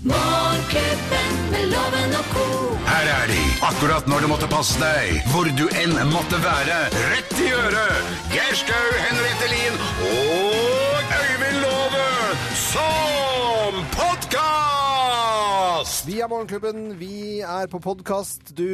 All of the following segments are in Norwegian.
Morgenklubben med loven og ko. Her er de, akkurat når du måtte passe deg, hvor du enn måtte være. Rett i øret! Geir Skau, Henriette Lien og Øyvind Låve som podkast! Vi er Morgenklubben, vi er på podkast. Du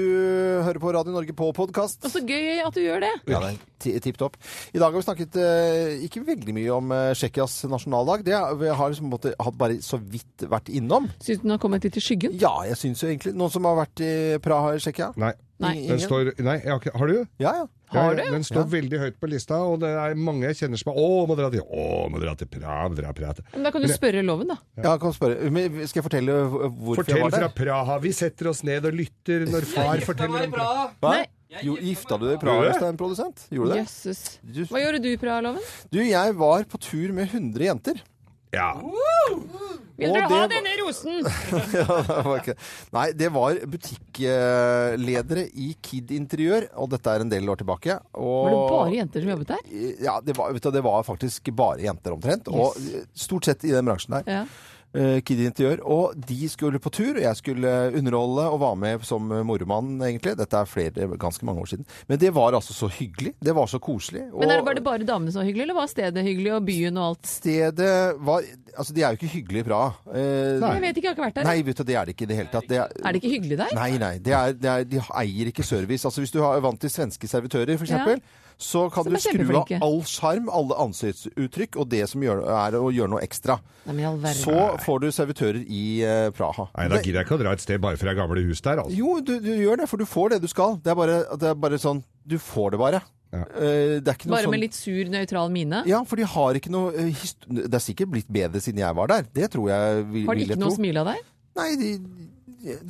hører på Radio Norge på podkast. Og så gøy at du gjør det. Ja, det er ti- tipp topp. I dag har vi snakket eh, ikke veldig mye om eh, Tsjekkias nasjonaldag. Det har- vi har liksom på en måte hatt bare så vidt vært innom. Syns du den har kommet litt i skyggen? Ja, jeg syns jo egentlig Noen som har vært i Praha i Tsjekkia? Nei. Nei. Den står, nei, jeg har ikke Har du? Ja, ja. Har Ja, du? Den står veldig høyt på lista, og det er mange jeg kjenner som er Å, må dra til Å, må dra til Praha, dra Praha til-» Men da kan du spørre loven, da. ja kan du spørre. Men skal jeg fortelle hvor- hvorfor Fortell jeg var fra der? Praha. Vi setter oss ned og lytter når far forteller om Praha. Hva? Nei. Jo, gifta du deg i Praha Gjorde hos jeg? en produsent? Gjorde du det? Jøsses. Du, Hva gjorde du, Praha-loven? du, jeg var på tur med 100 jenter. Ja. Vil Og dere ha det var- denne rosen? Ja, det var ikke- Nei, det var butikkledere i Kid Interiør, og dette er en del år tilbake. Og Var det bare jenter som jobbet der? Ja, det var, vet du, det var faktisk bare jenter omtrent. Og stort sett i den bransjen der. Ja. eh, Kid Interiør. Og de skulle på tur, og jeg skulle underholde og være med som moromann, egentlig. Dette er flere, ganske mange år siden. Men det var altså så hyggelig. Det var så koselig. Men er og- det bare, bare damene som var hyggelige, eller var stedet hyggelig, og byen og alt? Stedet var Altså, de er jo ikke hyggelige bra. Eh, Jeg vet ikke, jeg har ikke vært der. Nei, vet du, det er det ikke i det hele tatt. Det er, Er det ikke hyggelig der? Nei, nei. Det er, det er, de eier ikke service. Altså Hvis du er vant til svenske servitører, f.eks., eksempel, så kan Som du er skru av kjempeflinke. all sjarm, alle ansiktsuttrykk og det som gjør, er å gjøre noe ekstra. Nei, men i all verden. Så får du servitører i eh, Praha. Nei, da gidder jeg ikke å dra et sted bare for det er gamle hus der, altså. Jo, du, du gjør det, for du får det du skal. Det er bare, det er bare sånn Du får det bare. Ja. Eh, Det er ikke noe Bare sånn med litt sur, nøytral mine? Ja, for de har ikke noe eh, hist- Det er sikkert blitt bedre siden jeg var der. Det tror jeg vil, Har de vil jeg ikke noe tro. å smile av deg? Nei, de,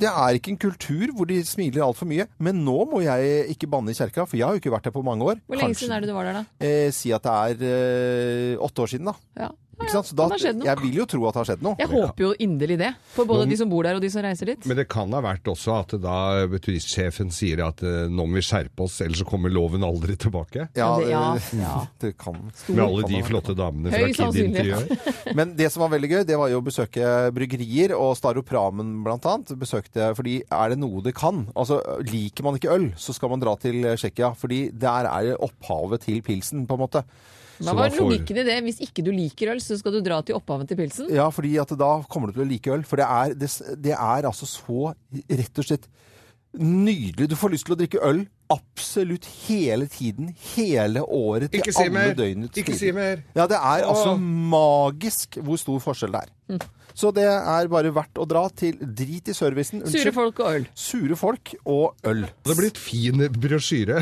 det er ikke en kultur hvor de smiler altfor mye. Men nå må jeg ikke banne i kjerka, for jeg har jo ikke vært der på mange år. Hvor lenge siden er det du var der, da? Eh, si at det er eh, åtte år siden, da. Ja. Ikke sant? Så kan da ha skjedd noe. jeg vil jo tro at det har skjedd noe. Jeg håper jo inderlig det. For både de som bor der, og de som reiser dit. Men det kan ha vært også at da eh, turistsjefen sier at eh, nå må vi skjerpe oss, ellers så kommer loven aldri tilbake. Ja, det- ja, eh, ja. det kan. Med alle de flotte damene fra Høy Kid Interiør. Men det som var veldig gøy, det var jo å besøke bryggerier, og Staropramen blant annet. Besøkte, fordi er det noe det kan? Altså, liker man ikke øl, så skal man dra til Tsjekkia. Fordi der er det opphavet til pilsen, på en måte. Hva Så var da får- logikken i det? Hvis ikke du liker øl, så skal du dra til opphavet til pilsen? Ja, fordi at da kommer du til å like øl. For det er, det, det er altså så rett og slett nydelig. Du får lyst til å drikke øl absolutt hele tiden, hele året, til Ikke si alle mer! døgnets Ikke tider. si mer! Ja, det er altså Åh. magisk hvor stor forskjell det er. Mm. Så det er bare verdt å dra til drit i servicen. Sure folk og øl. Sure folk og øl. Det blir et fin brosjyre.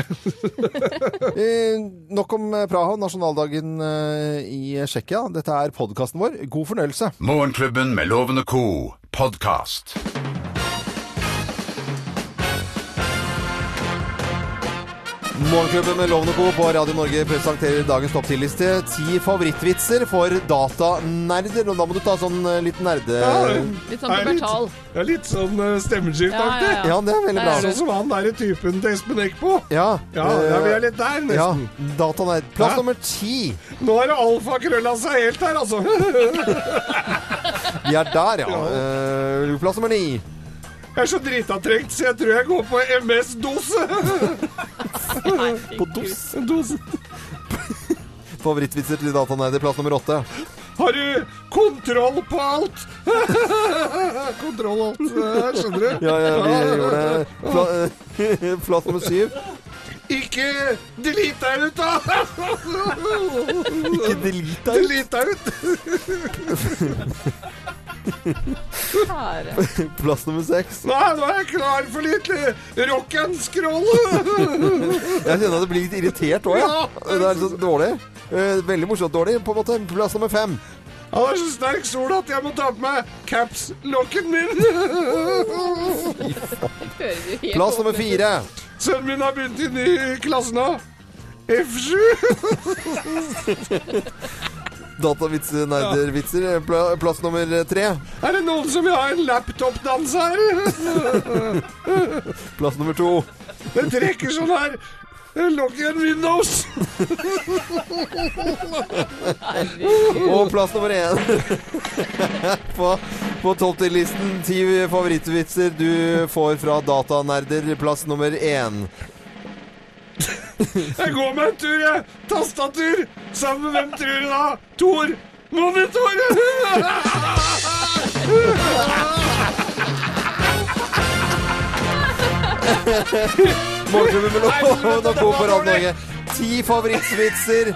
Eh, nok om eh, Praha, nasjonaldagen eh, i Tsjekkia. Dette er podkasten vår. God fornøyelse. Morgenklubben med Loven og Co. podkast. Morgenklubben med Lovende Co. på Radio Norge presenterer dagens topp 10-liste. Ti favorittvitser for datanerder. Og da må du ta sånn eh, litt nerde... Litt sånn pubertal. Det er litt sånn eh, stemmeskift-aktig. Ja, Ja, det er veldig bra. Der er Sånn som han derre typen til Espen Eckbo. Ja, Ja, ja, vi er litt der, eh, ja, nesten. datanerd. Plass Hæ? nummer ti. Nå er det alfakrølla seg helt her, altså. Vi er der, ja. Eh, plass nummer ni. Jeg er så dritavtrengt, så jeg tror jeg går på MS-dose. På dos. Dose. Favorittvitser til datanerder. Plass nummer åtte. Har du kontroll på alt? kontroll alt, eh, skjønner du? Ja, ja, vi gjorde det. Pla eh, plass nummer syv. Ikke delete deg ut, da! Ikke delete deg. delete deg ut! Kjære. Plass nummer seks. Nei, nå er jeg klar for litt eh, rock and scroll. Jeg kjenner at det blir litt irritert òg, Ja. ja. Det er så dårlig. Eh, Veldig morsomt dårlig, på en måte. Plass nummer fem. Han er så sterk sol at jeg må ta på meg caps-lokken min. Plass nummer fire. Sønnen min har begynt i ny klasse nå. F7. Datavitser, nerdervitser. Pla- Plass nummer tre. Er det noen som vil ha en laptopdans her? Plass nummer to. Det trekker sånn her Lock and windows! Og plass nummer én på, på topp 10-listen. Ti favorittvitser du får fra datanerder. Plass nummer én. Jeg går meg en tur, jeg. Tastatur. Sammen med hvem tror du da? Tor. Monitoren! Morgenklubben med Loven og Co. på Radio Norge. Ti favorittvitser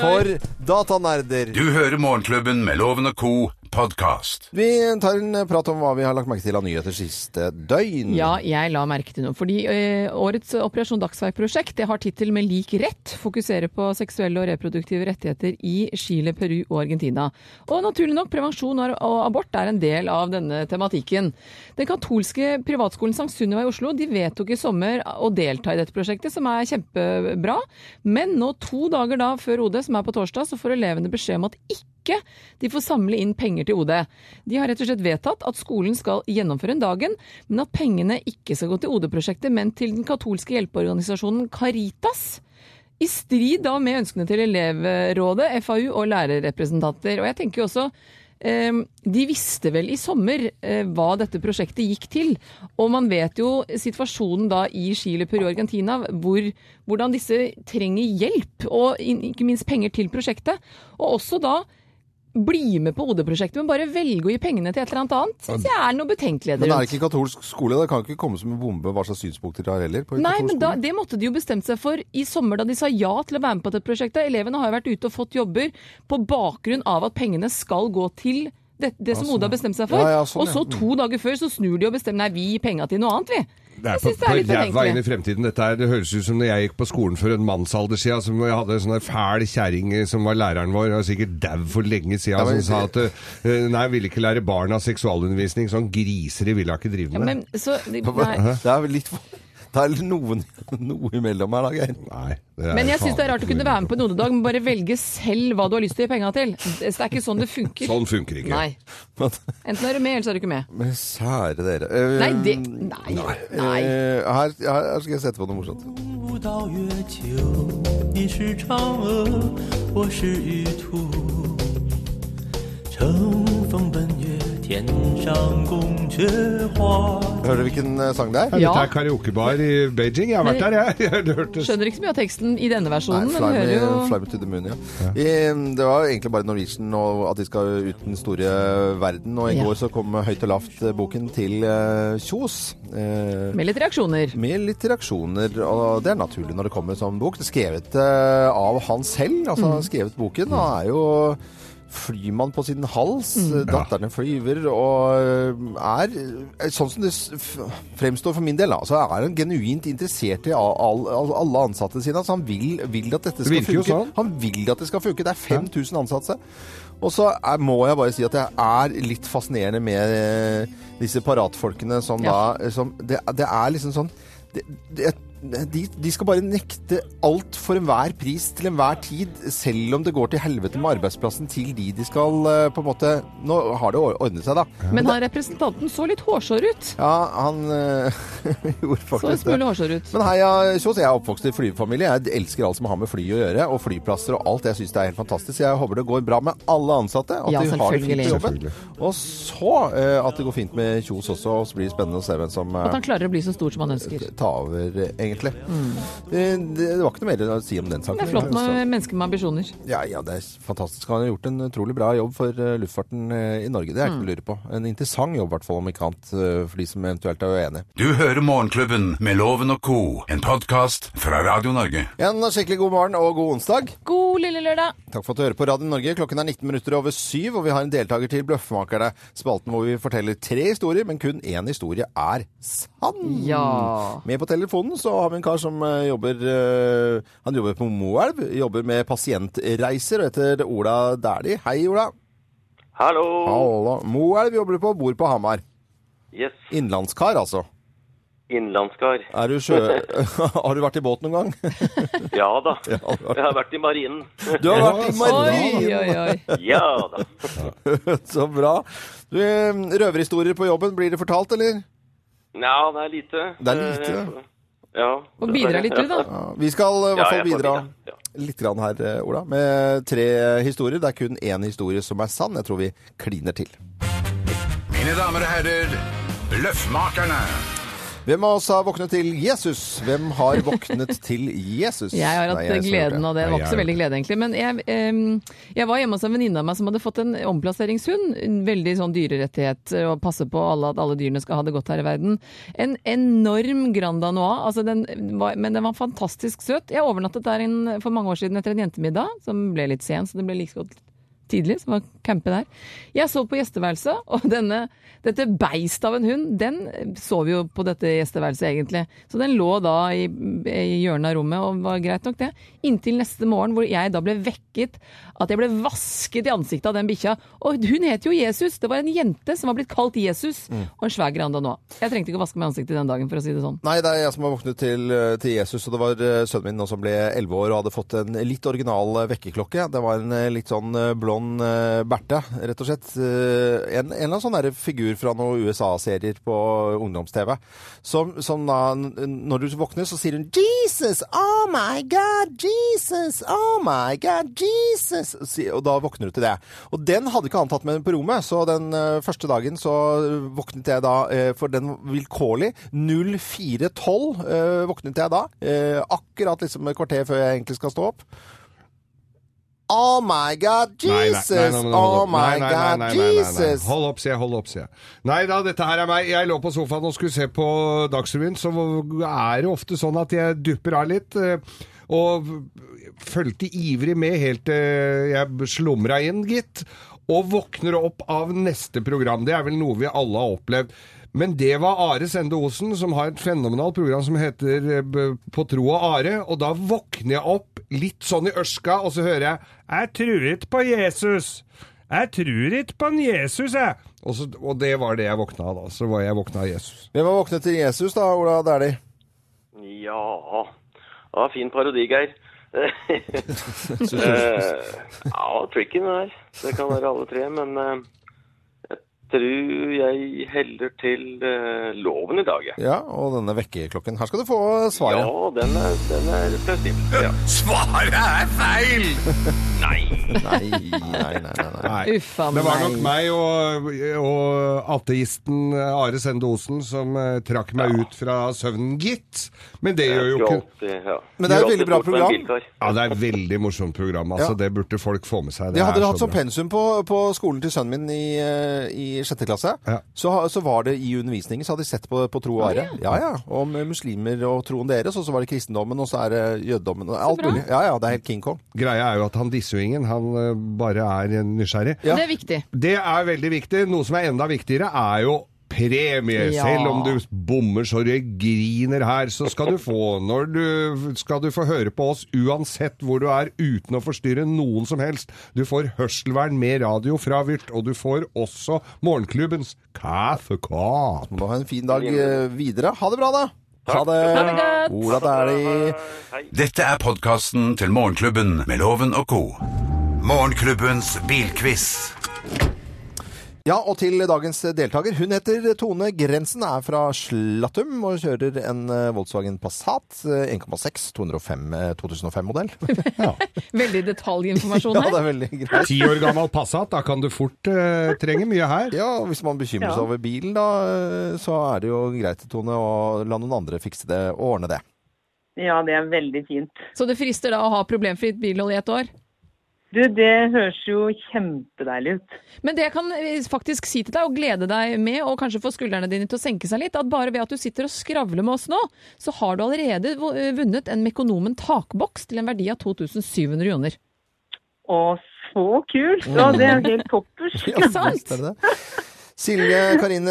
for datanerder. Du hører Morgenklubben med Loven og Co. podkast. Vi tar en eh, prat om hva vi har lagt merke til av nyheter siste døgn. Ja, jeg la merke til noe. Fordi eh, årets Operasjon Dagsverk-prosjekt det har tittel med lik rett, fokuserer på seksuelle og reproduktive rettigheter i Chile, Peru og Argentina. Og naturlig nok, prevensjon og og abort er en del av denne tematikken. Den katolske privatskolen Sankt Sunniva i Oslo de vedtok i sommer å delta i dette prosjektet, som er kjempebra. Men nå to dager da før OD, som er på torsdag, så får elevene beskjed om at ikke ikke de får samle inn penger til OD. De har rett og slett vedtatt at skolen skal gjennomføre en dagen, men at pengene ikke skal gå til OD-prosjektet, men til den katolske hjelpeorganisasjonen Caritas. I strid da med ønskene til elevrådet, FAU og lærerrepresentanter. Og jeg tenker jo også eh, de visste vel i sommer eh, hva dette prosjektet gikk til. Og man vet jo situasjonen da i Chile, Peru og Argentina, hvor, hvordan disse trenger hjelp, og in- ikke minst penger til prosjektet. Og også da bli med på OD-prosjektet, men bare velge å gi pengene til et eller annet annet. Synes jeg er noe betenkeligheter Men det rundt. er ikke katolsk skole. Det kan ikke komme som en bombe hva slags synspunkter de har heller. på Nei, katolsk men da, skole. det måtte de jo bestemt seg for i sommer da de sa ja til å være med på dette prosjektet. Elevene har jo vært ute og fått jobber på bakgrunn av at pengene skal gå til det, det som sånn, Oda har bestemt seg for. Ja, ja, sånn, og så ja. to dager før så snur de og bestemmer nei, vi gir penga til noe annet, vi. Det Jeg er på, synes det er litt på jævla inn i betenkelig. fremtiden. Dette er, det høres ut som når jeg gikk på skolen for en mannsalder siden, som jeg hadde en sånn der fæl kjerring eh, som var læreren vår, og sikkert dau for lenge siden, Ja, men- som sa at eh, nei, jeg ville ikke lære barna seksualundervisning, sånn griser de ville jeg ikke drive Ja, med. men, så, nei. Det er vel litt for- Det er noe, noe imellom her, da, Geir. Nei, det er Men jeg syns faen det er rart å ikke kunne mulig. være med på en OD-dag, men bare velge selv hva du har lyst til å gi penga til. Det det er ikke sånn det funker. Sånn funker ikke. Nei. Men, Enten er du med, eller så er du ikke med. men sære dere. Eh, Nei, det Nei. nei. eh, her, her skal jeg sette på noe morsomt. 舞到月球，你是嫦娥，我是玉兔，乘风奔月，天上宫阙花。 Hører du hvilken eh, sang det er? Nei, Ja. Dette er karaokebar i Beijing. Jeg har vært der, jeg. jeg har hørt det. Skjønner ikke så mye av teksten i denne versjonen, Nei, men fly, hører jo me, fly me to the moon, ja. Eh, Det var jo egentlig bare Norwegian og at de skal ut den store verden. Og i Ja. går så kom Høyt og lavt-boken til eh, Kjos. eh, med litt reaksjoner. Med litt reaksjoner, og det er naturlig når det kommer en sånn bok. Det er skrevet eh, av han selv, altså Mm. han har skrevet boken. Han er jo flymann på sin hals, Mm. eh, datteren er flyver, og er, eh, sånn som det s- f- fremstår for min del, da, så er han genuint interessert i all, all, all- alle ansatte sine. Altså han vil, vil at dette skal virker jo funke. sånn. Han vil at det skal funke. Det er 5000 ansatte. Og så er, må jeg bare si at det er litt fascinerende med eh, disse paratfolkene som Ja. da eh, som, det, det er liksom sånn det, det, de, de skal bare nekte alt for enhver pris til enhver tid, selv om det går til helvete med arbeidsplassen til de de skal eh, på en måte Nå har det or- ordnet seg, da. Men han representanten så litt hårsår ut. Ja, han eh, gjorde Så en faktisk det. smule hårsår ut. Men heia Kjos, jeg er oppvokst i flyfamilie. Jeg elsker alt som har med fly å gjøre, og flyplasser og alt. Jeg syns det er helt fantastisk. Jeg håper det går bra med alle ansatte, at Ja, de har det fint på jobben. selvfølgelig. Og så eh, at det går fint med Kjos også, og så blir det spennende å se hvem som eh, At han klarer å bli så stor som han ønsker. ta over, eh, egentlig. Det, det, det var ikke noe mer å si om den saken. Det er flott med mennesker med ambisjoner. Ja, ja, det er fantastisk. Han har gjort en utrolig bra jobb for eh, luftfarten eh, i Norge, det Mm. er ikke noe å lure på. En interessant jobb, i hvert fall, om ikke annet, eh, for de som eventuelt er uenige. Du hører Morgenklubben med Loven og Co., en podkast fra Radio Norge. En skikkelig god morgen og god onsdag. God lille lørdag! Takk for at du hører på Radio Norge. Klokken er 19 minutter over syv, og vi har en deltaker til Bløffmakerne. Spalten hvor vi forteller tre historier, men kun én historie er sann. Ja. Med på telefonen så har vi en kar som eh, jobber eh, Han jobber på Moelv. Jobber med pasientreiser og heter Ola Dæhlie. Hei, Ola. Hallo! Hallo. Moelv jobber du på, bor på Hamar. Yes, Innlandskar, altså. innlandskar. Er du sjø... har du vært i båt noen gang? Ja da. Jeg har vært i marinen. Du har vært i Oi, marinen! oi, oi. Ja da. Så bra. Du, eh, røverhistorier på jobben, blir det fortalt, eller? Nja, det er lite. Det er lite, ja. Eh, Ja. Og bidra litt, du, da. Ja, vi skal eh, i Ja, hvert fall jeg får bidra bidra, ja. litt grann her, eh, Ola, med tre historier. Det er kun én historie som er sann. Jeg tror vi kliner til. Mine damer og herrer, Løffmakerne. Hvem av oss har våknet til Jesus? Hvem har våknet til Jesus? Jeg har hatt Nei, jeg som har gjort gleden av det. Det Nei, var ikke jeg så har veldig glede, egentlig. Men jeg, em, jeg var hjemme hos en venninne av meg som hadde fått en omplasseringshund. En Veldig sånn dyrerettighet og passe på alle, at alle dyrene skal ha det godt her i verden. En enorm Grand Danois, altså den var, men den var fantastisk søt. Jeg overnattet der en, for mange år siden etter en jentemiddag, som ble litt sen, så det ble like så godt tidlig, som var campe der. Jeg sov på gjesteværelset, og denne, dette beist av en hund, den sov jo på dette gjesteværelset egentlig. Så den lå da i, i hjørnet av rommet, og var greit nok det. Inntil neste morgen, hvor jeg da ble vekket, at jeg ble vasket i ansiktet av den bikkja. Og hun het jo Jesus, det var en jente som var blitt kalt Jesus, og en svær granda nå. Jeg trengte ikke å vaske meg i ansiktet den dagen, for å si det sånn. Nei, det er jeg som har våknet til, til Jesus, og det var eh, sønnen min nå som ble 11 år og hadde fått en litt original eh, vekkerklokke. Det var en eh, litt sånn eh, blond eh, Berthe, rett og slett. Eh, En, en eller annen sånn der figur fra noen USA-serier på ungdoms-TV, som, som da, n- når du våkner, så sier hun Jesus, oh my God, Jesus, oh my God, Jesus, si- og da våkner du til det. Og den hadde ikke han tatt med på rommet, så den eh, første dagen så våknet jeg da, eh, for den vilkårlig, 0412 eh, våknet jeg da, eh, akkurat liksom et kvarter før jeg egentlig skal stå opp. Oh my God, Nei, nei, Jesus! nei, nei, men hold oh opp. my Nei, nei, nei, nei, nei, God, nei, nei. Jesus! Hold opp, sier jeg. Hold opp, sier jeg. Nei da, dette her er meg. Jeg lå på sofaen og skulle se på Dagsrevyen, så er det ofte sånn at jeg dupper av litt. eh, Og fulgte ivrig med helt til jeg slumra inn, gitt. Og våkner opp av neste program. Det er vel noe vi alle har opplevd. Men det var Are Sende Osen, som har et fenomenalt program som heter eh, B- På tro og are. Og da våkner jeg opp litt sånn i ørska, og så hører jeg 'Jeg trur ikke på Jesus'. Jeg tror ikke på en Jesus, jeg. Og, så, og det var det jeg våkna av da. Så var jeg våkna av Jesus. Hvem har våknet til Jesus da, Ola Dæhlie? Ja Det var en fin parodi, Geir. Eh, ja, tricky det der. Det kan være alle tre, men eh, jeg tror jeg heller til eh, loven i dag, jeg. Ja, og denne vekkerklokken. Her skal du få Ja, svaret. den er, den er plausibel. Ja. Svaret er feil! Nei. Nei, nei, nei, nei. nei. Nei. Uffa Det var meg. nok meg og, og ateisten Are Sende Osen som eh, trakk meg ut fra søvnen, gitt. Men det gjør jo Du ikke alltid, ja. Men det er Du et veldig alltid bra bort med en program. bilkar. Ja, det er et veldig morsomt program. Altså, Ja. Det burde folk få med seg. Det hadde er du så hatt som bra. pensum på, på skolen til sønnen min i, eh, i sjette klasse. Ja. Så, ha- så var det i undervisningen, så hadde de sett på, på tro og ære. Ja, ja. Om eh, muslimer og troen deres, og så var det kristendommen, og så er det jødedommen. og Alt bra. mulig. Ja, ja, det er helt King Kong. Greia er jo at han disser jo ingen. Han eh, bare er nysgjerrig. Ja. Det er viktig. Det er veldig viktig. Noe som er enda viktigere, er jo premie. Ja. Selv om du bommer så du griner her, så skal du få når du, skal du få høre på oss uansett hvor du er, uten å forstyrre noen som helst. Du får hørselvern med radio fra Vyrt, og du får også morgenklubbens kaffekap. Må ha en fin dag eh, videre. Ha det bra, da! Ha det! Ha det godt. Ola Dæhlie. Hei. Dette er podkasten til Morgenklubben med Loven og co. Morgenklubbens bilquiz. Ja, og til dagens deltaker. Hun heter Tone Grensen, er fra Slattum og kjører en eh, Volkswagen Passat eh, 1,6 eh, 2005-modell. Veldig detaljinformasjon Ja, her. det er veldig greit. Ti år gammel Passat, da kan du fort eh, trenge mye her. Ja, og Hvis man bekymrer seg over bilen, da, eh, så er det jo greit Tone, å la noen andre fikse det og ordne det. Ja, det er veldig fint. Så det frister da å ha problemfritt bilhold i et år? Du, det høres jo kjempedeilig ut. Men det jeg kan eh, faktisk si til deg, og glede deg med, og kanskje få skuldrene dine til å senke seg litt, at bare ved at du sitter og skravler med oss nå, så har du allerede eh, vunnet en Mekonomen takboks til en verdi av 2700 joner. Å, så kult! Ja, det er helt toppers. Ikke sant? Er det det? Silje Karine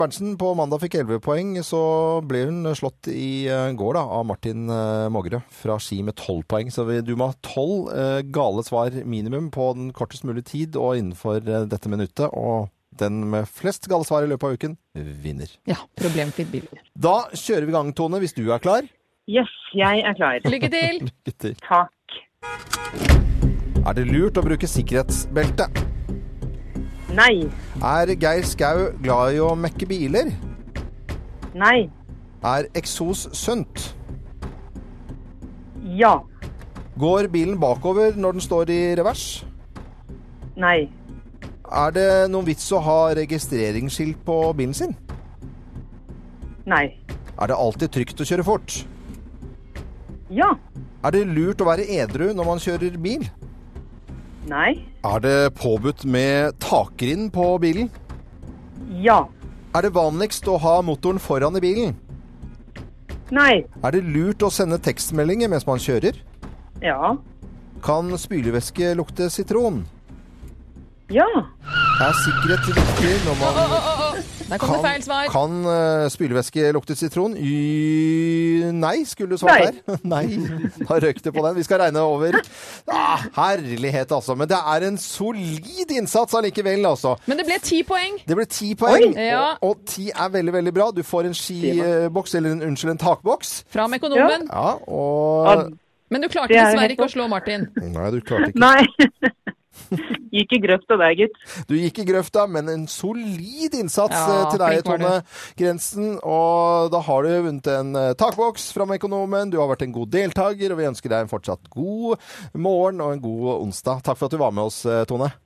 Berntsen på mandag fikk 11 poeng. Så ble hun slått i eh, går da, av Martin eh, Mågerø fra ski med 12 poeng. Så vi- du må ha 12 eh, gale svar minimum på den kortest mulig tid og innenfor eh, dette minuttet. Og den med flest gale svar i løpet av uken vinner. Ja, problemfritt bilhold. Da kjører vi i gang, Tone, hvis du er klar. Yes, jeg er klar. Lykke til! Gutter. Takk. Er det lurt å bruke sikkerhetsbelte? Nei, Er Geir Skau glad i å mekke biler? nei, Er eksos sunt? Ja. Går bilen bakover når den står i revers? Nei. Er det noen vits å ha registreringsskilt på bilen sin? Nei. Er det alltid trygt å kjøre fort? Ja. Er det lurt å være edru når man kjører bil? Nei. Er det påbudt med takrenn på bilen? Ja. Er det vanligst å ha motoren foran i bilen? Nei. Er det lurt å sende tekstmeldinger mens man kjører? Ja. Kan spylevæske lukte sitron? Ja. Er sikkerhet viktig når man Der kom det Kan, feil svar. kan eh, spylevæske lukte sitron? Y nei, skulle du svart Nei. der. nei. Da røk det på den. Vi skal regne over. Ah, herlighet, altså. Men det er en solid innsats allikevel, altså. Men det ble ti poeng. Det ble ti poeng, Ja. og, og ti er veldig, veldig bra. Du får en skiboks, eller en, unnskyld, en takboks. Fra med økonomen. Ja, Ja, og Men du klarte Det er helt dessverre ikke å topp. slå Martin. Nei, du klarte ikke. Nei. Gikk i grøfta der, gutt. Du gikk i grøfta, men en solid innsats Ja, eh, til deg, flink var Tone Grensen. Og da har du vunnet en eh, takboks fra Mekonomen. Du har vært en god deltaker, og vi ønsker deg en fortsatt god morgen og en god onsdag. Takk for at du var med oss, eh, Tone.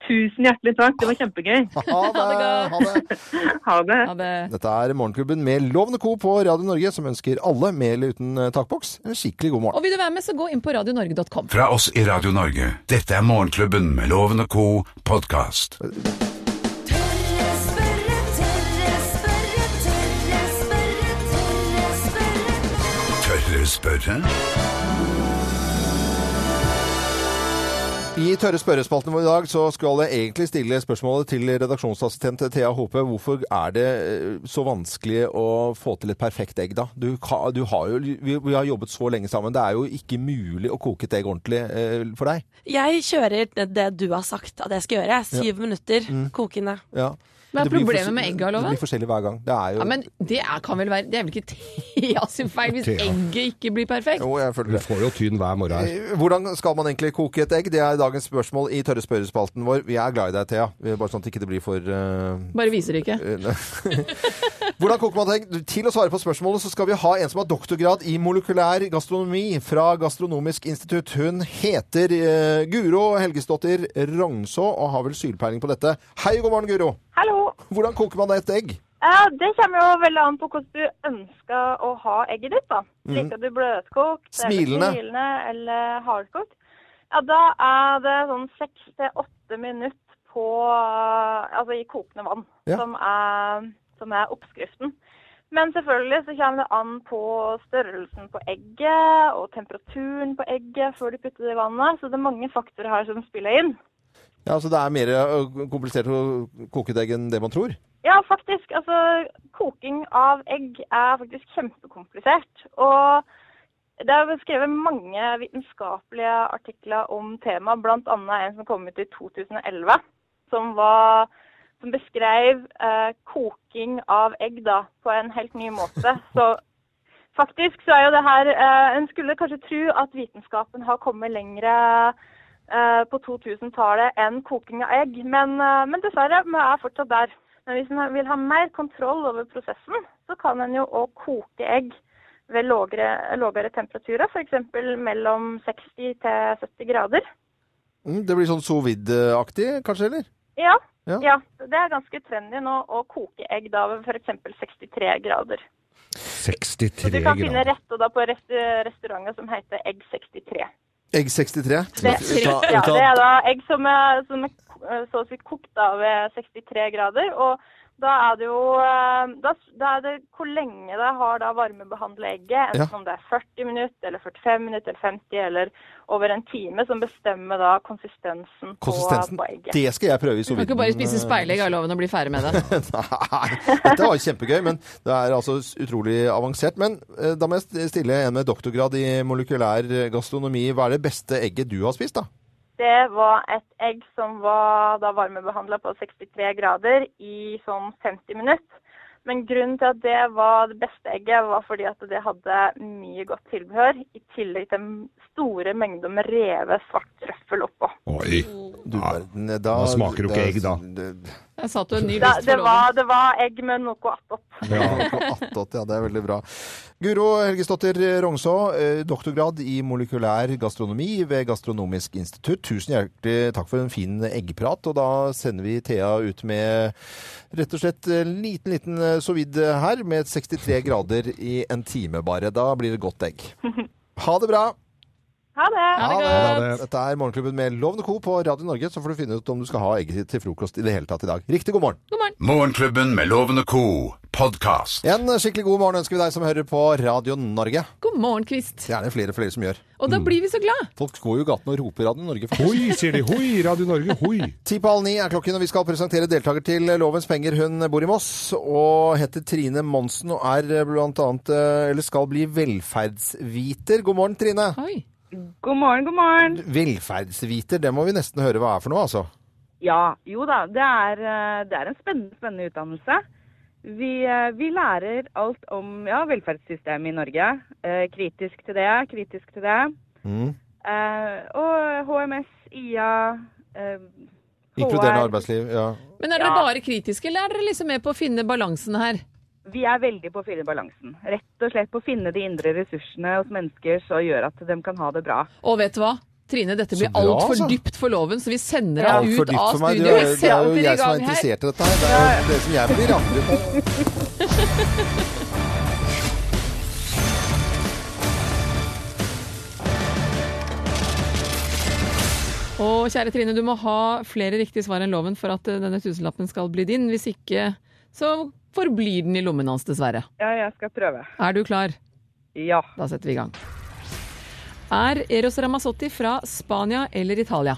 Tusen hjertelig takk. Det var kjempegøy. Ha det! godt. Ha det. Ha det. Ja, det... Dette er Morgenklubben med Lovende Co. på Radio Norge, som ønsker alle, med eller uten eh, takboks, en skikkelig god morgen. Og vil du være med, så gå inn på radionorge.com. Fra oss i Radio Norge. Dette er Morgenklubben med Loven og Co. podkast. Tørre spørre, tørre spørre, tørre spørre, tørre spørre. Tørre spørre? I tørre spørrespalten vår i dag så skal jeg egentlig stille spørsmålet til redaksjonsassistent Thea Hope. Hvorfor er det eh, så vanskelig å få til et perfekt egg, da? Du, ka- du har jo, vi, vi har jobbet så lenge sammen. Det er jo ikke mulig å koke et egg ordentlig eh, for deg. Jeg kjører det- det du har sagt at jeg skal gjøre. Syv minutter kokende. Mm. Ja. Hva er Det blir problemet fors- med egga, Loven? Det blir forskjellig hver gang. Det er jo Ja, men det er, kan vel være Det er vel ikke Thea sin feil hvis Thea. egget ikke blir perfekt? Jo, jeg føler Du det. får jo tynn hver morgen her. Eh, Hvordan skal man egentlig koke et egg? Det er dagens spørsmål i tørre spørrespalten vår. Vi er glad i deg, Thea. Eh, Bare sånn at det ikke blir for eh, Bare viser det ikke. Hvordan koker man et egg? Til å svare på spørsmålet så skal vi ha en som har doktorgrad i molekylær gastronomi fra Gastronomisk institutt. Hun heter eh, Guro Helgesdottir Rognså og har vel sylpeiling på dette. Hei, god morgen, Guro. Hallo. Hvordan koker man et egg? Ja, Det kommer jo veldig an på hvordan du ønsker å ha egget ditt. da. Liker du bløtkokt, eller Mm. Smilende. smilende eller hardkokt? Ja, Da er det sånn seks til åtte minutter på, eh, altså i kokende vann Ja. som, er, som er oppskriften. Men selvfølgelig så kommer det an på størrelsen på egget og temperaturen på egget før du putter det i vannet. Så det er mange faktorer her som spiller inn. Ja, altså Det er mer eh, komplisert å koke et egg enn det man tror. Ja, faktisk. Altså, koking av egg er faktisk kjempekomplisert. Og det er jo skrevet mange vitenskapelige artikler om temaet, bl.a. en som kom ut i 2011, som, var, som beskrev eh, koking av egg da, på en helt ny måte. Så faktisk så er jo det her eh, En skulle kanskje tro at vitenskapen har kommet lengre eh, på 2000-tallet enn koking av egg, men, eh, men dessverre, vi er fortsatt der. Men hvis en vil ha mer kontroll over prosessen, så kan en jo òg koke egg ved lågere, lågere temperaturer, f.eks. mellom 60 til 70 grader. Mm, det blir sånn sous vide-aktig, kanskje? eller? Ja, Ja. ja. det er ganske trendy nå å koke egg da ved f.eks. 63 grader. Så 63 du kan finne grader. rette da på rest restauranter som heter Egg 63. Egg 63. Det, Uta- ja, det uta- er da egg som er, som er ko- eh, så å si kokt da ved 63 grader. og da er det jo eh, da, da er det hvor lenge det har da varmebehandla egget, enten Ja. om det er 40 minutter, eller 45 minutter, eller 50 eller over en time, som bestemmer da konsistensen, Konsistensen. På, på egget. Det skal jeg prøve i Du sous kan vide. ikke bare spise Mm. speilegg av loven og bli ferdig med det. Nei, dette var kjempegøy, men det er altså utrolig avansert. Men eh, da må jeg stille en med doktorgrad i molekylær gastronomi. Hva er det beste egget du har spist, da? Det var et egg som var da varmebehandla på 63 grader i sånn 50 minutter. Men grunnen til at det var det beste egget, var fordi at det hadde mye godt tilbehør. I tillegg til store mengder med revet svart trøffel oppå. Oi. Du, verden, da smaker du ikke egg, da. det- Jeg satte jo en ny Da, lyst det, for var, over. det var egg med noe attåt. Ja, på attåt, ja, det er veldig bra. Guro Helgesdotter Rongså, eh, doktorgrad i molekylær gastronomi ved Gastronomisk institutt. Tusen hjertelig takk for en fin eggeprat. Og da sender vi Thea ut med rett og slett en liten, liten eh, sous vide her med 63 grader i en time bare. Da blir det godt egg. Ha det bra! Ha det! Ha det Ha godt! det. Dette er Morgenklubben med Lovende Co. på Radio Norge. Så får du finne ut om du skal ha egget til frokost i det hele tatt i dag. Riktig god morgen! God morgen. Morgenklubben med Loven og co. podkast. En skikkelig god morgen ønsker vi deg som hører på Radio Norge. God morgen, Kvist. Det er det flere og flere som gjør. Og da blir vi så glad. Folk går jo i gaten og roper Radio Norge. faktisk. Hoi, sier de. Hoi, Radio Norge, hoi. Ti på halv ni er klokken, og vi skal presentere deltaker til Lovens penger. Hun bor i Moss og heter Trine Monsen og er blant annet eh, Eller skal bli velferdsviter. God morgen, Trine. Oi. God morgen, god morgen. Velferdsviter, det må vi nesten høre hva er for noe, altså. Ja, jo da. Det er, eh, det er en spennende, spennende utdannelse. Vi, eh, vi lærer alt om ja, velferdssystemet i Norge. Eh, Kritisk til det, kritisk til det. Mm. Eh, Og HMS, IA eh, Inkluderende HR. arbeidsliv. Ja. Men er dere bare kritiske, eller er dere liksom med på å finne balansen her? Vi er veldig på å finne balansen. Rett og slett på å finne de indre ressursene hos mennesker som gjør at de kan ha det bra. Og vet du hva? Trine, dette blir Så bra, altfor altså. dypt for loven, så vi sender Alt deg for ut dypt av for meg. Du, studio. er- Vi det er jo setter i jeg som er gang her. interessert i dette her. Det er jo det som jeg blir ramlet på. Og kjære Trine, du må ha flere riktige svar enn loven for at eh, denne tusenlappen skal bli din. Hvis ikke, så forblir den i lommen hans, dessverre. Ja, jeg skal prøve. Er du klar? Ja. Da setter vi i gang. Er Eros Ramazzotti fra Spania eller Italia?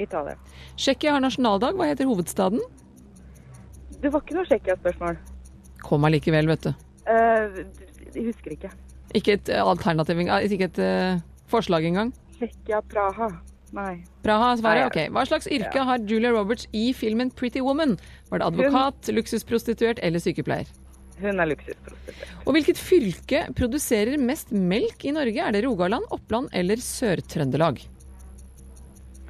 Italia. Tsjekkia har nasjonaldag. Hva heter hovedstaden? Det var ikke noe Tsjekkia-spørsmål. Kom allikevel, vet du. Eh, Jeg husker ikke. Ikke et eh, alternativ, eh, ikke et eh, forslag engang. Tsjekkia, Praha. Nei. Praha er svaret? Nei, Ok. Hva slags yrke har Julia Roberts i filmen Pretty Woman? Var det advokat, luksusprostituert eller sykepleier? Hun er luksusprostituert. Og hvilket fylke produserer mest melk i Norge? Er det Rogaland, Oppland eller Sør-Trøndelag?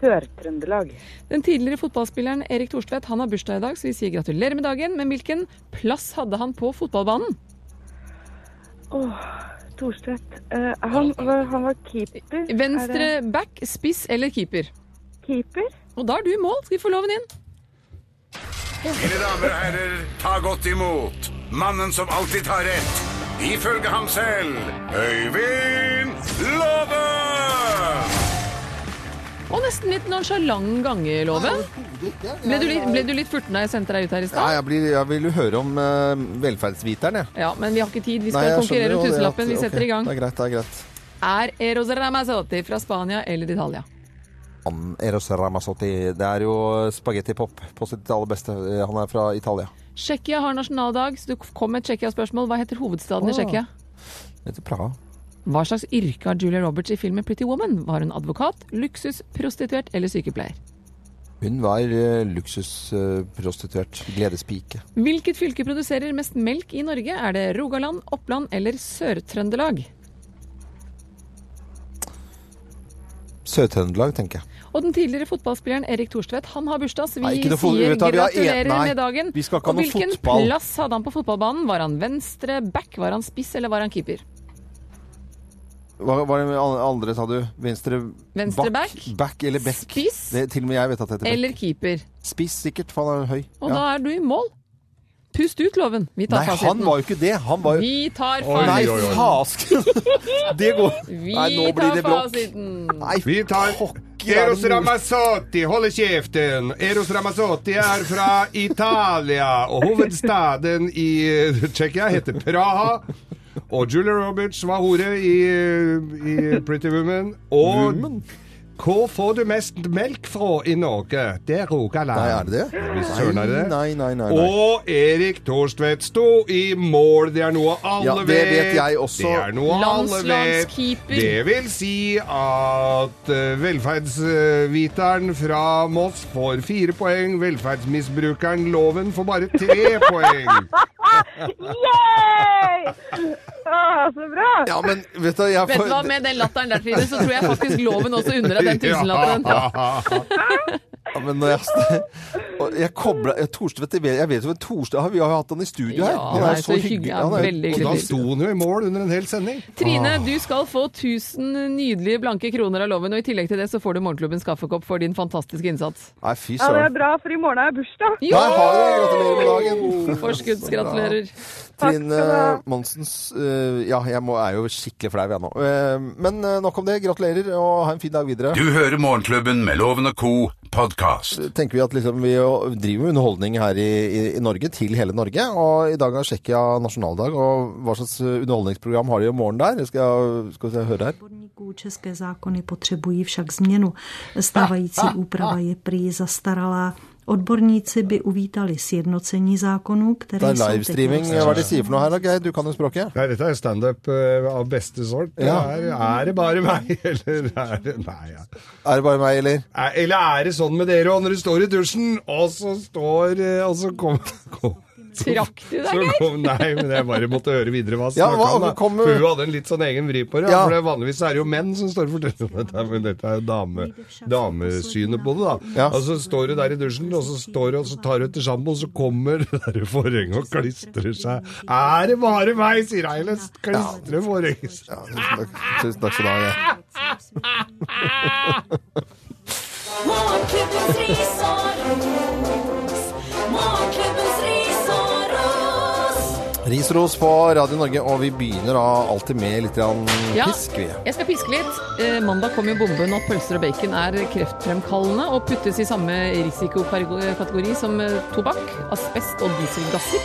Sør-Trøndelag. Den tidligere fotballspilleren Erik Thorstvedt han har bursdag i dag, så vi sier gratulerer med dagen. Men hvilken plass hadde han på fotballbanen? Thorstvedt. Eh, han, var- han var keeper. Er det Venstre back, spiss eller keeper? keeper? Og da er du i mål. Skal vi få loven inn? Mine damer og herrer, ta godt imot mannen som alltid tar rett, ifølge ham selv, Øyvind Låve! Og nesten litt nonsjalant gange, Loven. Ble du litt, ble du litt furten da jeg sendte deg ut her i Ja, stad? jeg, blir, jeg vil jo høre om eh, velferdsviteren, jeg. Ja, men vi har ikke tid. Vi Nei, skal jeg skjønner konkurrere jo om det tusenlappen. at- Vi setter ok, i gang. Det er greit, det er greit. Er Eros Ramazzotti fra Spania eller Italia? Han, Eros Ramazzotti, det er jo spagettipop på sitt aller beste. Han er fra Italia. Tsjekkia har nasjonaldag, så du kom med et Tsjekkia-spørsmål. Hva heter hovedstaden i Åh. Tsjekkia? Heter Praha. Hva slags yrke har Julia Roberts i filmen Pretty Woman? Var hun advokat, luksus, prostituert eller sykepleier? Hun var eh, luksusprostituert. Gledespike. Hvilket fylke produserer mest melk i Norge? Er det Rogaland, Oppland eller Sør-Trøndelag? Sør-Trøndelag, tenker jeg. Og den tidligere fotballspilleren Erik Thorstvedt, han har bursdag, så vi Nei, ikke noe fot- sier vet du hva, vi har en- gratulerer nei, med dagen. vi skal ikke ha Og noe hvilken fotball. plass hadde han på fotballbanen? Var han venstre back, var han spiss eller var han keeper? Hva var det an- andre, sa du? Venstre, Venstre back? back? Back eller back? Spiss? Det, til og med jeg vet at det heter back. Eller keeper? Spiss, sikkert, for han er høy. Og Ja. da er du i mål. Pust ut, Loven. Vi tar Nei, han fasiten. var jo ikke det. Han var jo Vi tar Oi, Nei, oi, oi. fasken! det går Vi Nei, nå blir tar det bråk. fasiten. Nei, Vi tar pokker, er Eros det mulig? Ramazzotti, hold kjeften! Eros Ramazzotti er fra Italia, og hovedstaden i eh, Tsjekkia heter Praha. Og Julia Roberts var hore i, eh, i Pretty Woman. Og hvor får du mest melk fra i Norge? Det er Rogaland. Nei, er det det? Hvis søren er det. Nei, nei, nei, nei. Og Erik Thorstvedt sto i mål. Det er noe alle Ja, det vet jeg også. Det er noe alle vet. Landslagskeeper. Det vil si at eh, velferdsviteren fra Moss får fire poeng. Velferdsmisbrukeren Loven får bare tre poeng. Yay! Å, så bra. Ja, men vet du, jeg Vet du hva, får Med den latteren der, Trine, så tror jeg faktisk loven også undrer deg den tusenlappen. ja, men når jeg, og jeg kobla jeg- Thorstvedt jeg vet- Jeg vet jo hvem Thorstvedt er. Vi har jo hatt han i studio her. Ja, Han er nei, jo så så hyggelig. hyggelig. Ja, Han er, jo- veldig Og da sto han jo i mål under en hel sending. Trine, du skal få 1000 nydelige blanke kroner av loven, og i tillegg til det så får du Morgenklubbens kaffekopp for din fantastiske innsats. Nei, fy Ja, det søren. er bra, for i morgen er jeg bursdag. Jo! Der har du det! Gratulerer med dagen. Forskuddsgratulerer. Trine Monsens eh, Ja, jeg må, er jo skikkelig flau, jeg nå. Eh, men eh, nok om det. Gratulerer, og ha en fin dag videre. Du hører Morgenklubben med Loven og Co. podkast. tenker vi at liksom, vi jo driver med underholdning her i, i, i Norge, til hele Norge. Og i dag er Tsjekkia nasjonaldag, og hva slags eh, underholdningsprogram har de om morgenen der? Skal, skal vi se, høre her. odborníků české zákony potřebují však změnu. Stávající úprava je prý zastaralá. Odborníci by uvítali sjednocení zákonů, Det které er jsou livestreaming. technicky- Hva er det de sier for noe her da, Geir? Du kan jo språket. Nei, dette er standup eh, av beste sort. Ja. Er, er det bare meg, eller er det Nei, ja. Er det bare meg, eller? Er- Eller er det sånn med dere òg, når du står i dusjen, og så står eh, Og så kom, kom Trakk du så deg, Geir? kom, nei, men jeg bare måtte høre videre hva Ja, snakka hva- om. da. kom- For hun hadde en litt sånn egen vri på det. Ja. For det er vanligvis er det jo menn som står og forteller om dette, men dette er jo dame, damesynet på det, da. Ja. Og så står hun der i dusjen, og så står hun, og så tar hun til sjampo, og så kommer det der forhenget og klistrer seg. Er det bare meg, sier Eilest. Klistrer forhenget seg. Ja, tusen takk, tusen takk skal du ha. Geir. Morgenklubbens ris og ros. Morgenklubbens ris og ros. Risros på Radio Norge, og vi begynner da alltid med litt grann Ja. pisk, vi. Jeg skal piske litt. Eh, mandag kom jo bomben at pølser og bacon er kreftfremkallende og puttes i samme risikokategori som eh, tobakk, asbest og dieselgasser.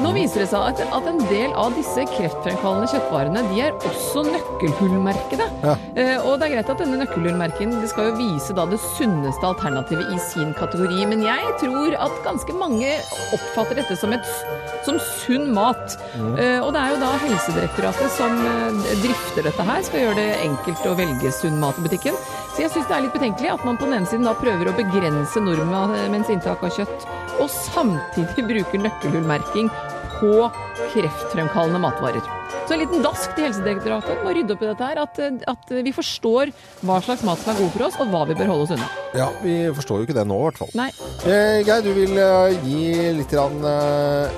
Nå viser det seg at, at en del av disse kreftfremkallende kjøttvarene de er også nøkkelhullmerkede. Ja. Eh, og det er greit at denne nøkkelhullmerken det skal jo vise da det sunneste alternativet i sin kategori, men jeg tror at ganske mange oppfatter dette som, et, s- som sunn mat. Mm. Eh, og det er jo da Helsedirektoratet som eh, drifter dette her, skal gjøre det enkelt å velge sunn mat i butikken. Så jeg syns det er litt betenkelig at man på den ene siden da prøver å begrense nordmenns inntak av kjøtt, og samtidig bruker nøkkelhullmerking på kreftfremkallende matvarer. Så en liten dask til Helsedirektoratet må rydde opp i dette her, at, eh, at vi forstår hva slags mat som er god for oss, og hva vi bør holde oss unna. Ja, vi forstår jo ikke det nå, i hvert fall. Nei, Eh, Geir, du vil eh, gi litt grann,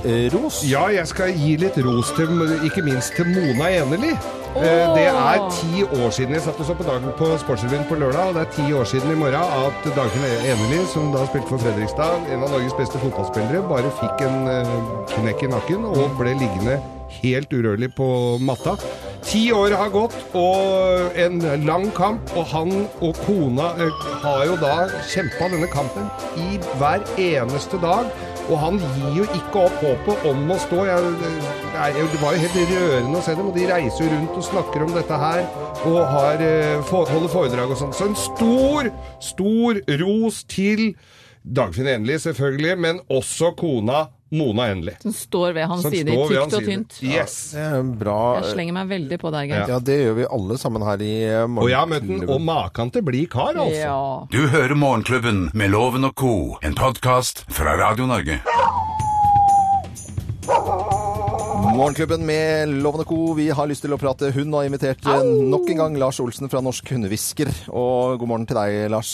eh, ros? Ja, jeg skal gi litt ros til ikke minst til Mona Enerli. Eh, Det er ti år siden jeg satt og så på dagen på Sportsrevyen på lørdag, og det er ti år siden i morgen at Dagfinn Enerli, som da spilte for Fredrikstad, en av Norges beste fotballspillere, bare fikk en eh, knekk i nakken og ble liggende helt urørlig på matta. Ti år har gått, og en lang kamp, og han og kona eh, har jo da kjempa denne kampen i hver eneste dag. Og han gir jo ikke opp håpet om å stå. Jeg, nei, det var jo helt rørende å se dem, og de reiser jo rundt og snakker om dette her og har, eh, for, holder foredrag og sånn. Så en stor, stor ros til Dagfinn Endelig, selvfølgelig, men også kona Mona Endelig. Som står ved hans som side, står ved tykt hans og side. tynt. Yes. Det er en Eh, bra Jeg slenger meg veldig på deg, Geir. Ja, det gjør vi alle sammen her i eh, Og jeg har møtt den, og maken til blid kar, altså. Ja. Du hører Morgenklubben med Loven og Co., en podkast fra Radio Norge. Morgenklubben med Lovende Co. Vi har lyst til å prate hund, og har invitert eh, nok en gang Lars Olsen fra Norsk Hundehvisker. Og god morgen til deg, Lars.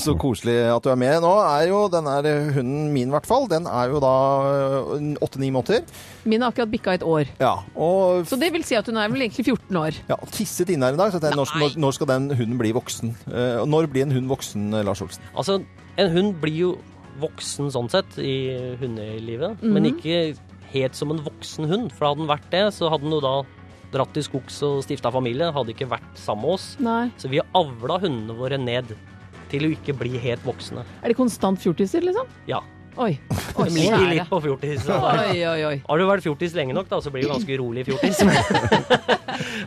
Så koselig at du er med. Nå er jo den her eh, hunden min, i hvert fall. Den er jo da eh, åtte-ni måneder. Min har akkurat bikka et år. Ja. Og Så det vil si at hun er vel egentlig 14 år. ja, tisset inne her i dag, så jeg tenkte, når, når- når skal den hunden bli voksen? Eh, Og når blir en hund voksen, eh, Lars Olsen? Altså, en hund blir jo voksen sånn sett i hundelivet, men Mhm. ikke helt som en voksen hund. For hadde den vært det, så hadde den jo da dratt til skogs og stifta familie. Hadde ikke vært sammen med oss. Nei. Så vi har avla hundene våre ned til å ikke bli helt voksne. Er de konstant fjortiser, liksom? Ja. Oi. Oi, De ligger kjære. litt på fjortis. Oi, oi, oi. Har du vært fjortis lenge nok, da, så blir du ganske urolig fjortis.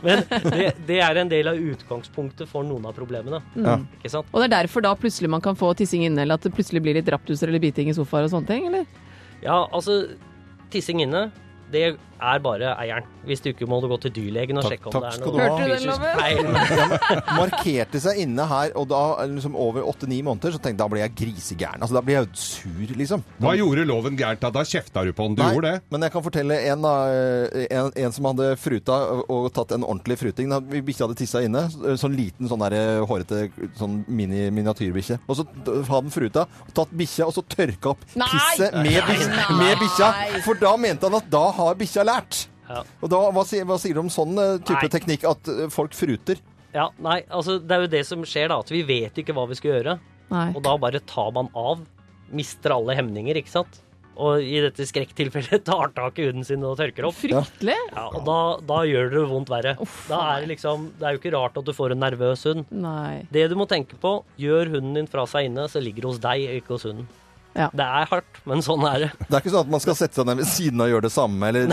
Men det, det er en del av utgangspunktet for noen av problemene. Ikke sant? Og det er derfor da plutselig man kan få tissing inne, eller at det plutselig blir litt raptuser eller biting i sofaer og sånne ting, eller? Ja, altså Tissing inne Det er bare eieren. Hvis du ikke må du gå til dyrlegen og sjekke om det er takk skal noe du ha. Hørte du den, fysisk Loven? feil. Ja, men markerte seg inne her, og da liksom over åtte-ni måneder, så tenkte jeg da ble jeg grisegæren. Altså, da ble jeg sur, liksom. Hva gjorde loven gærent da? Da kjefta du på han. Du Nei, gjorde det. Men jeg kan fortelle en, da, eh, en, en som hadde fruta og tatt en ordentlig fruting. Da Bikkja hadde tissa inne. Sånn liten, sånn der, hårete sånn mini miniatyrbikkje. Og så d- hadde han fruta, tatt bikkja og så tørka opp Nei! pisset med, bis- Nei, nei. med bikkja. For da mente han at da har bikkja lært. Ja. Og da, hva, sier, hva sier du om sånn eh, type Nei. teknikk at eh, folk fruter? Ja, nei, altså det er jo det som skjer da, at vi vet ikke hva vi skal gjøre. Nei. Og da bare tar man av, mister alle hemninger, ikke sant? Og i dette skrekktilfellet tar tak i huden sin og tørker opp. Fryktelig. Ja, og da, da gjør det vondt verre. da er det liksom, det er jo ikke rart at du får en nervøs hund. Nei. Det du må tenke på, gjør hunden din fra seg inne, så ligger det hos deg, ikke hos hunden. Det er hardt, men sånn er det. Det er ikke sånn at man skal sette seg ned ved siden av og gjøre det samme, eller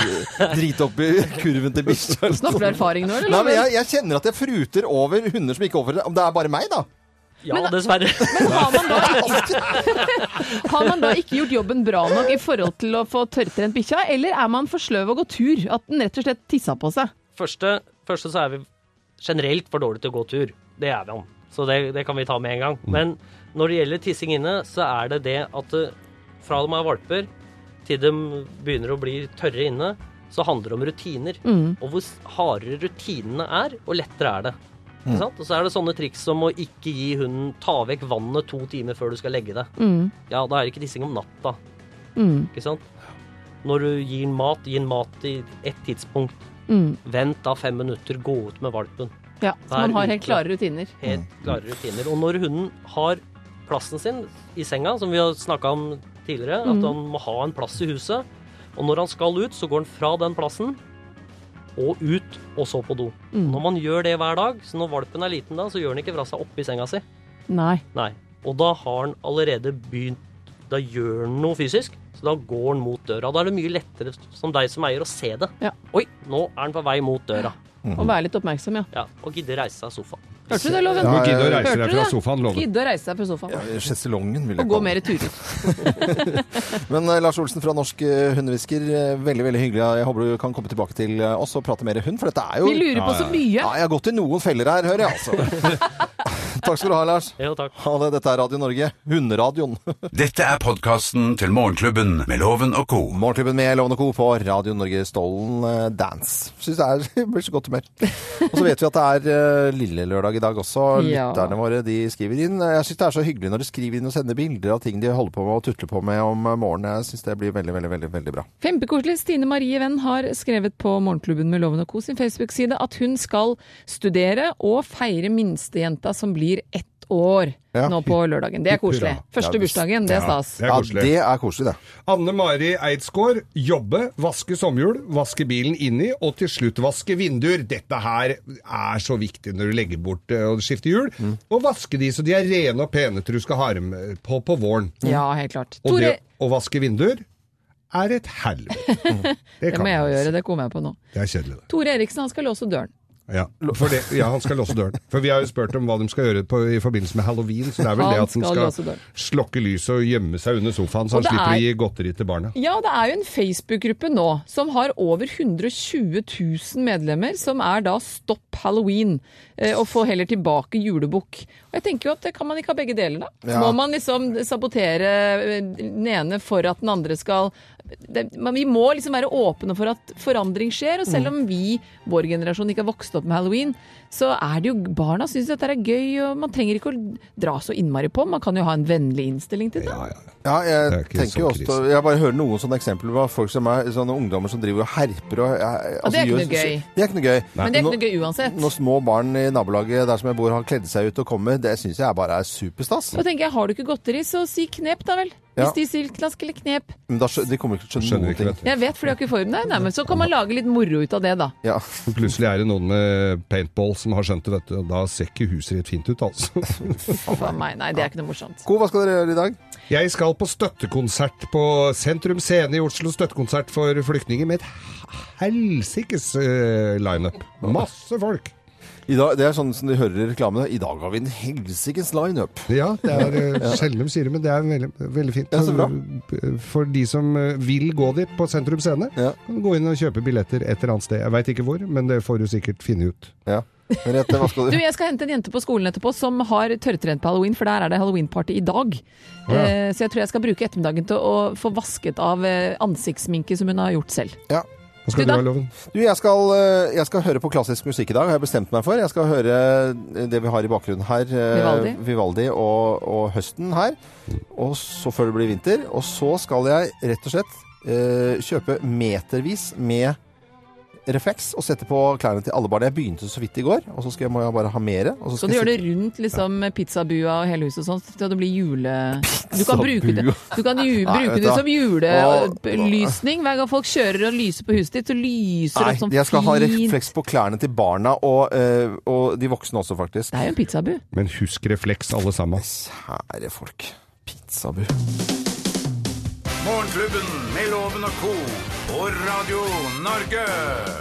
drite opp i kurven til bikkja. eller Snakker du sånn. erfaring nå, eller? Nei, men jeg, jeg kjenner at jeg fruter over hunder som ikke oppfører seg. Om Det er bare meg, da. Ja, dessverre. Har man da ikke gjort jobben bra nok i forhold til å få tørrtrent bikkja, eller er man for sløv å gå tur? At den rett og slett tissa på seg? Første, første så er vi generelt for dårlige til å gå tur. Det er vi om. Så det, det kan vi ta med en gang. Men når det gjelder tissing inne, så er det det at eh, fra de er valper til de begynner å bli tørre inne, så handler det om rutiner. Mm. Og hvor s- hardere rutinene er, og lettere er det. Mm. Ikke sant? Og så er det sånne triks som å ikke gi hunden ta vekk vannet to timer før du skal legge deg. Mm. Ja, da er det ikke tissing om natta. Mm. Ikke sant? Når du gir den mat, gi den mat i ett tidspunkt. Mm. Vent da fem minutter, gå ut med valpen. Ja, så man Hver har helt uke. klare rutiner. Helt klare rutiner. Og når hunden har plassen sin i senga, som vi har snakka om tidligere, at Mm. han må ha en plass i huset, og når han skal ut, så går han fra den plassen og ut, og så på do. Mm. Når man gjør det hver dag, så når valpen er liten da, så gjør han ikke fra seg oppi senga si. Nei. Nei. Og da har han allerede begynt Da gjør han noe fysisk, så da går han mot døra. Da er det mye lettere som deg som eier å se det. Oi, nå er han på vei mot døra. Mhm. Og være litt oppmerksom, ja. Ja, og gidde reise seg av sofaen. Hørte du det, Loven? Du må gidde å reise Hørte deg du fra det? sofaen, Loven. Gidde å reise deg fra sofaen. Sjeselongen, vil jeg Og gå mer turer. Men eh, Lars Olsen fra Norsk eh, Hundehvisker, eh, veldig veldig hyggelig. Jeg håper du kan komme tilbake til eh, oss og prate mer hund, for dette er jo Vi lurer på så mye. Ja, jeg har gått i noen feller her, hører jeg, altså. takk skal du ha, Lars. Jo, takk. Ha det. Dette er Radio Norge, Hunderadioen. Dette er podkasten til Morgenklubben med Loven og co. Morgenklubben med Lovende Co. på Radio Norge Stollen eh, Dance. Syns det er jeg blir så godt humør. Og så vet vi at det er eh, lille lørdag i dag også. Ja. Lytterne våre de skriver inn. Jeg syns det er så hyggelig når de skriver inn og sender bilder av ting de holder på med og tutler på med om eh, morgenen. Jeg syns det blir veldig, veldig, veldig, veldig bra. Kjempekoselig. Stine Marie Venn har skrevet på Morgenklubben med Loven og Co. sin Facebook-side at hun skal studere og feire minstejenta som blir ett år Ja. nå på lørdagen. Det er koselig. Hurra. Første Ja, visst. bursdagen, det er Ja, stas. det er koselig. er koselig, det. Anne Mari Eidsgaard. Jobbe, vaske sommerhjul, vaske bilen inni, og til slutt vaske vinduer. Dette her er så viktig når du legger bort eh, og skifter hjul. Og vaske de så de er rene og pene til du skal ha dem på på våren. Ja, helt klart. Og Tore, det å vaske vinduer er et helvete. det, kan må jeg jo man si. gjøre, det kommer jeg på nå. Det er kjedelig, det. Tore Eriksen, han skal låse døren. Ja, for det, ja, han skal låse døren. For vi har jo spurt om hva de skal gjøre på, i forbindelse med halloween, så det er vel Han det at skal de låse skal døren. slokke lyset og gjemme seg under sofaen, så Og han det er- slipper å gi godteri til barna. Ja, det er jo en Facebook-gruppe nå som har over 120 000 medlemmer, som er da Stopp Halloween, eh, og få heller tilbake julebukk. Og jeg tenker jo at det kan man ikke ha begge deler, da. Ja. Må man liksom sabotere eh, den ene for at den andre skal det, men Vi må liksom være åpne for at forandring skjer, og selv Mm. om vi, vår generasjon, ikke har vokst opp med halloween, så er det jo Barna syns dette er gøy, og man trenger ikke å dra så innmari på. Man kan jo ha en vennlig innstilling til det. Ja, jeg ikke så tenker jo også krise. Jeg bare hører noen sånne eksempler på folk som er sånne ungdommer som driver og herper Og det og jeg- er altså, ikke noe gjør- gøy. Det er ikke noe gøy. Men det er ikke noe gøy uansett. Når, når små barn i nabolaget der som jeg bor har kledd seg ut og kommer, det syns jeg bare er superstas. Da tenker jeg, har du ikke godteri, så si knep da vel. Hvis Ja. de sier klask eller knep. Men da skjø, de kommer ikke til å skjønne noen ting. Jeg vet, for de har ikke form. Nei, nei, men så kan man lage litt moro ut av det, da. Ja. Plutselig er det noen med paintball som har skjønt det, vet du, og da ser ikke huset ditt fint ut, altså. For meg, nei, det er ikke noe morsomt. Ko, hva skal dere gjøre i dag? Jeg skal på støttekonsert på Sentrum Scene i Oslo. Støttekonsert for flyktninger med et helsikes eh, lineup. Masse folk. I dag, det er sånn som de hører i reklamene. I dag har vi en helsikes lineup. Ja, det er eh, Ja. sjelden de sier det, men det er veldig, veldig fint. Ja, så bra. For de som eh, vil gå dit på Sentrum Scene, kan gå inn og kjøpe billetter et eller annet sted. Jeg veit ikke hvor, men det får du sikkert finne ut. Ja. Merete, hva skal Du, jeg skal hente en jente på skolen etterpå som har tørrtrent på halloween, for der er det halloweenparty i dag. Å, ja. Eh, Så jeg tror jeg skal bruke ettermiddagen til å få vasket av eh, ansiktsminke som hun har gjort selv. Ja. Hva skal du, ha, Loven? Du, jeg skal, eh, jeg skal høre på klassisk musikk i dag, har jeg bestemt meg for. Jeg skal høre eh, det vi har i bakgrunnen her. eh, Vivaldi. Vivaldi og, og høsten her. Og så før det blir vinter. Og så skal jeg rett og slett eh, kjøpe metervis med refleks og sette på klærne til alle barna. Jeg begynte så vidt i går, og så skal jeg, må jeg bare ha mere. Og så Så skal du jeg gjør det sitte- rundt liksom, pizzabua og hele huset og sånn, til det blir jule... Du kan bruke det, Pizzabua. du kan ju, Nei, bruke vet du det hva. som Åh. julelysning. Hver gang folk kjører og lyser på huset ditt, så lyser det opp Nei, jeg skal sånn ha fint. refleks på klærne til barna og, eh, og de voksne også, faktisk. Det er jo en pizzabu. Men husk refleks, alle sammen. Kjære folk. Pizzabu. Morgenklubben med Loven og co. på Radio Norge.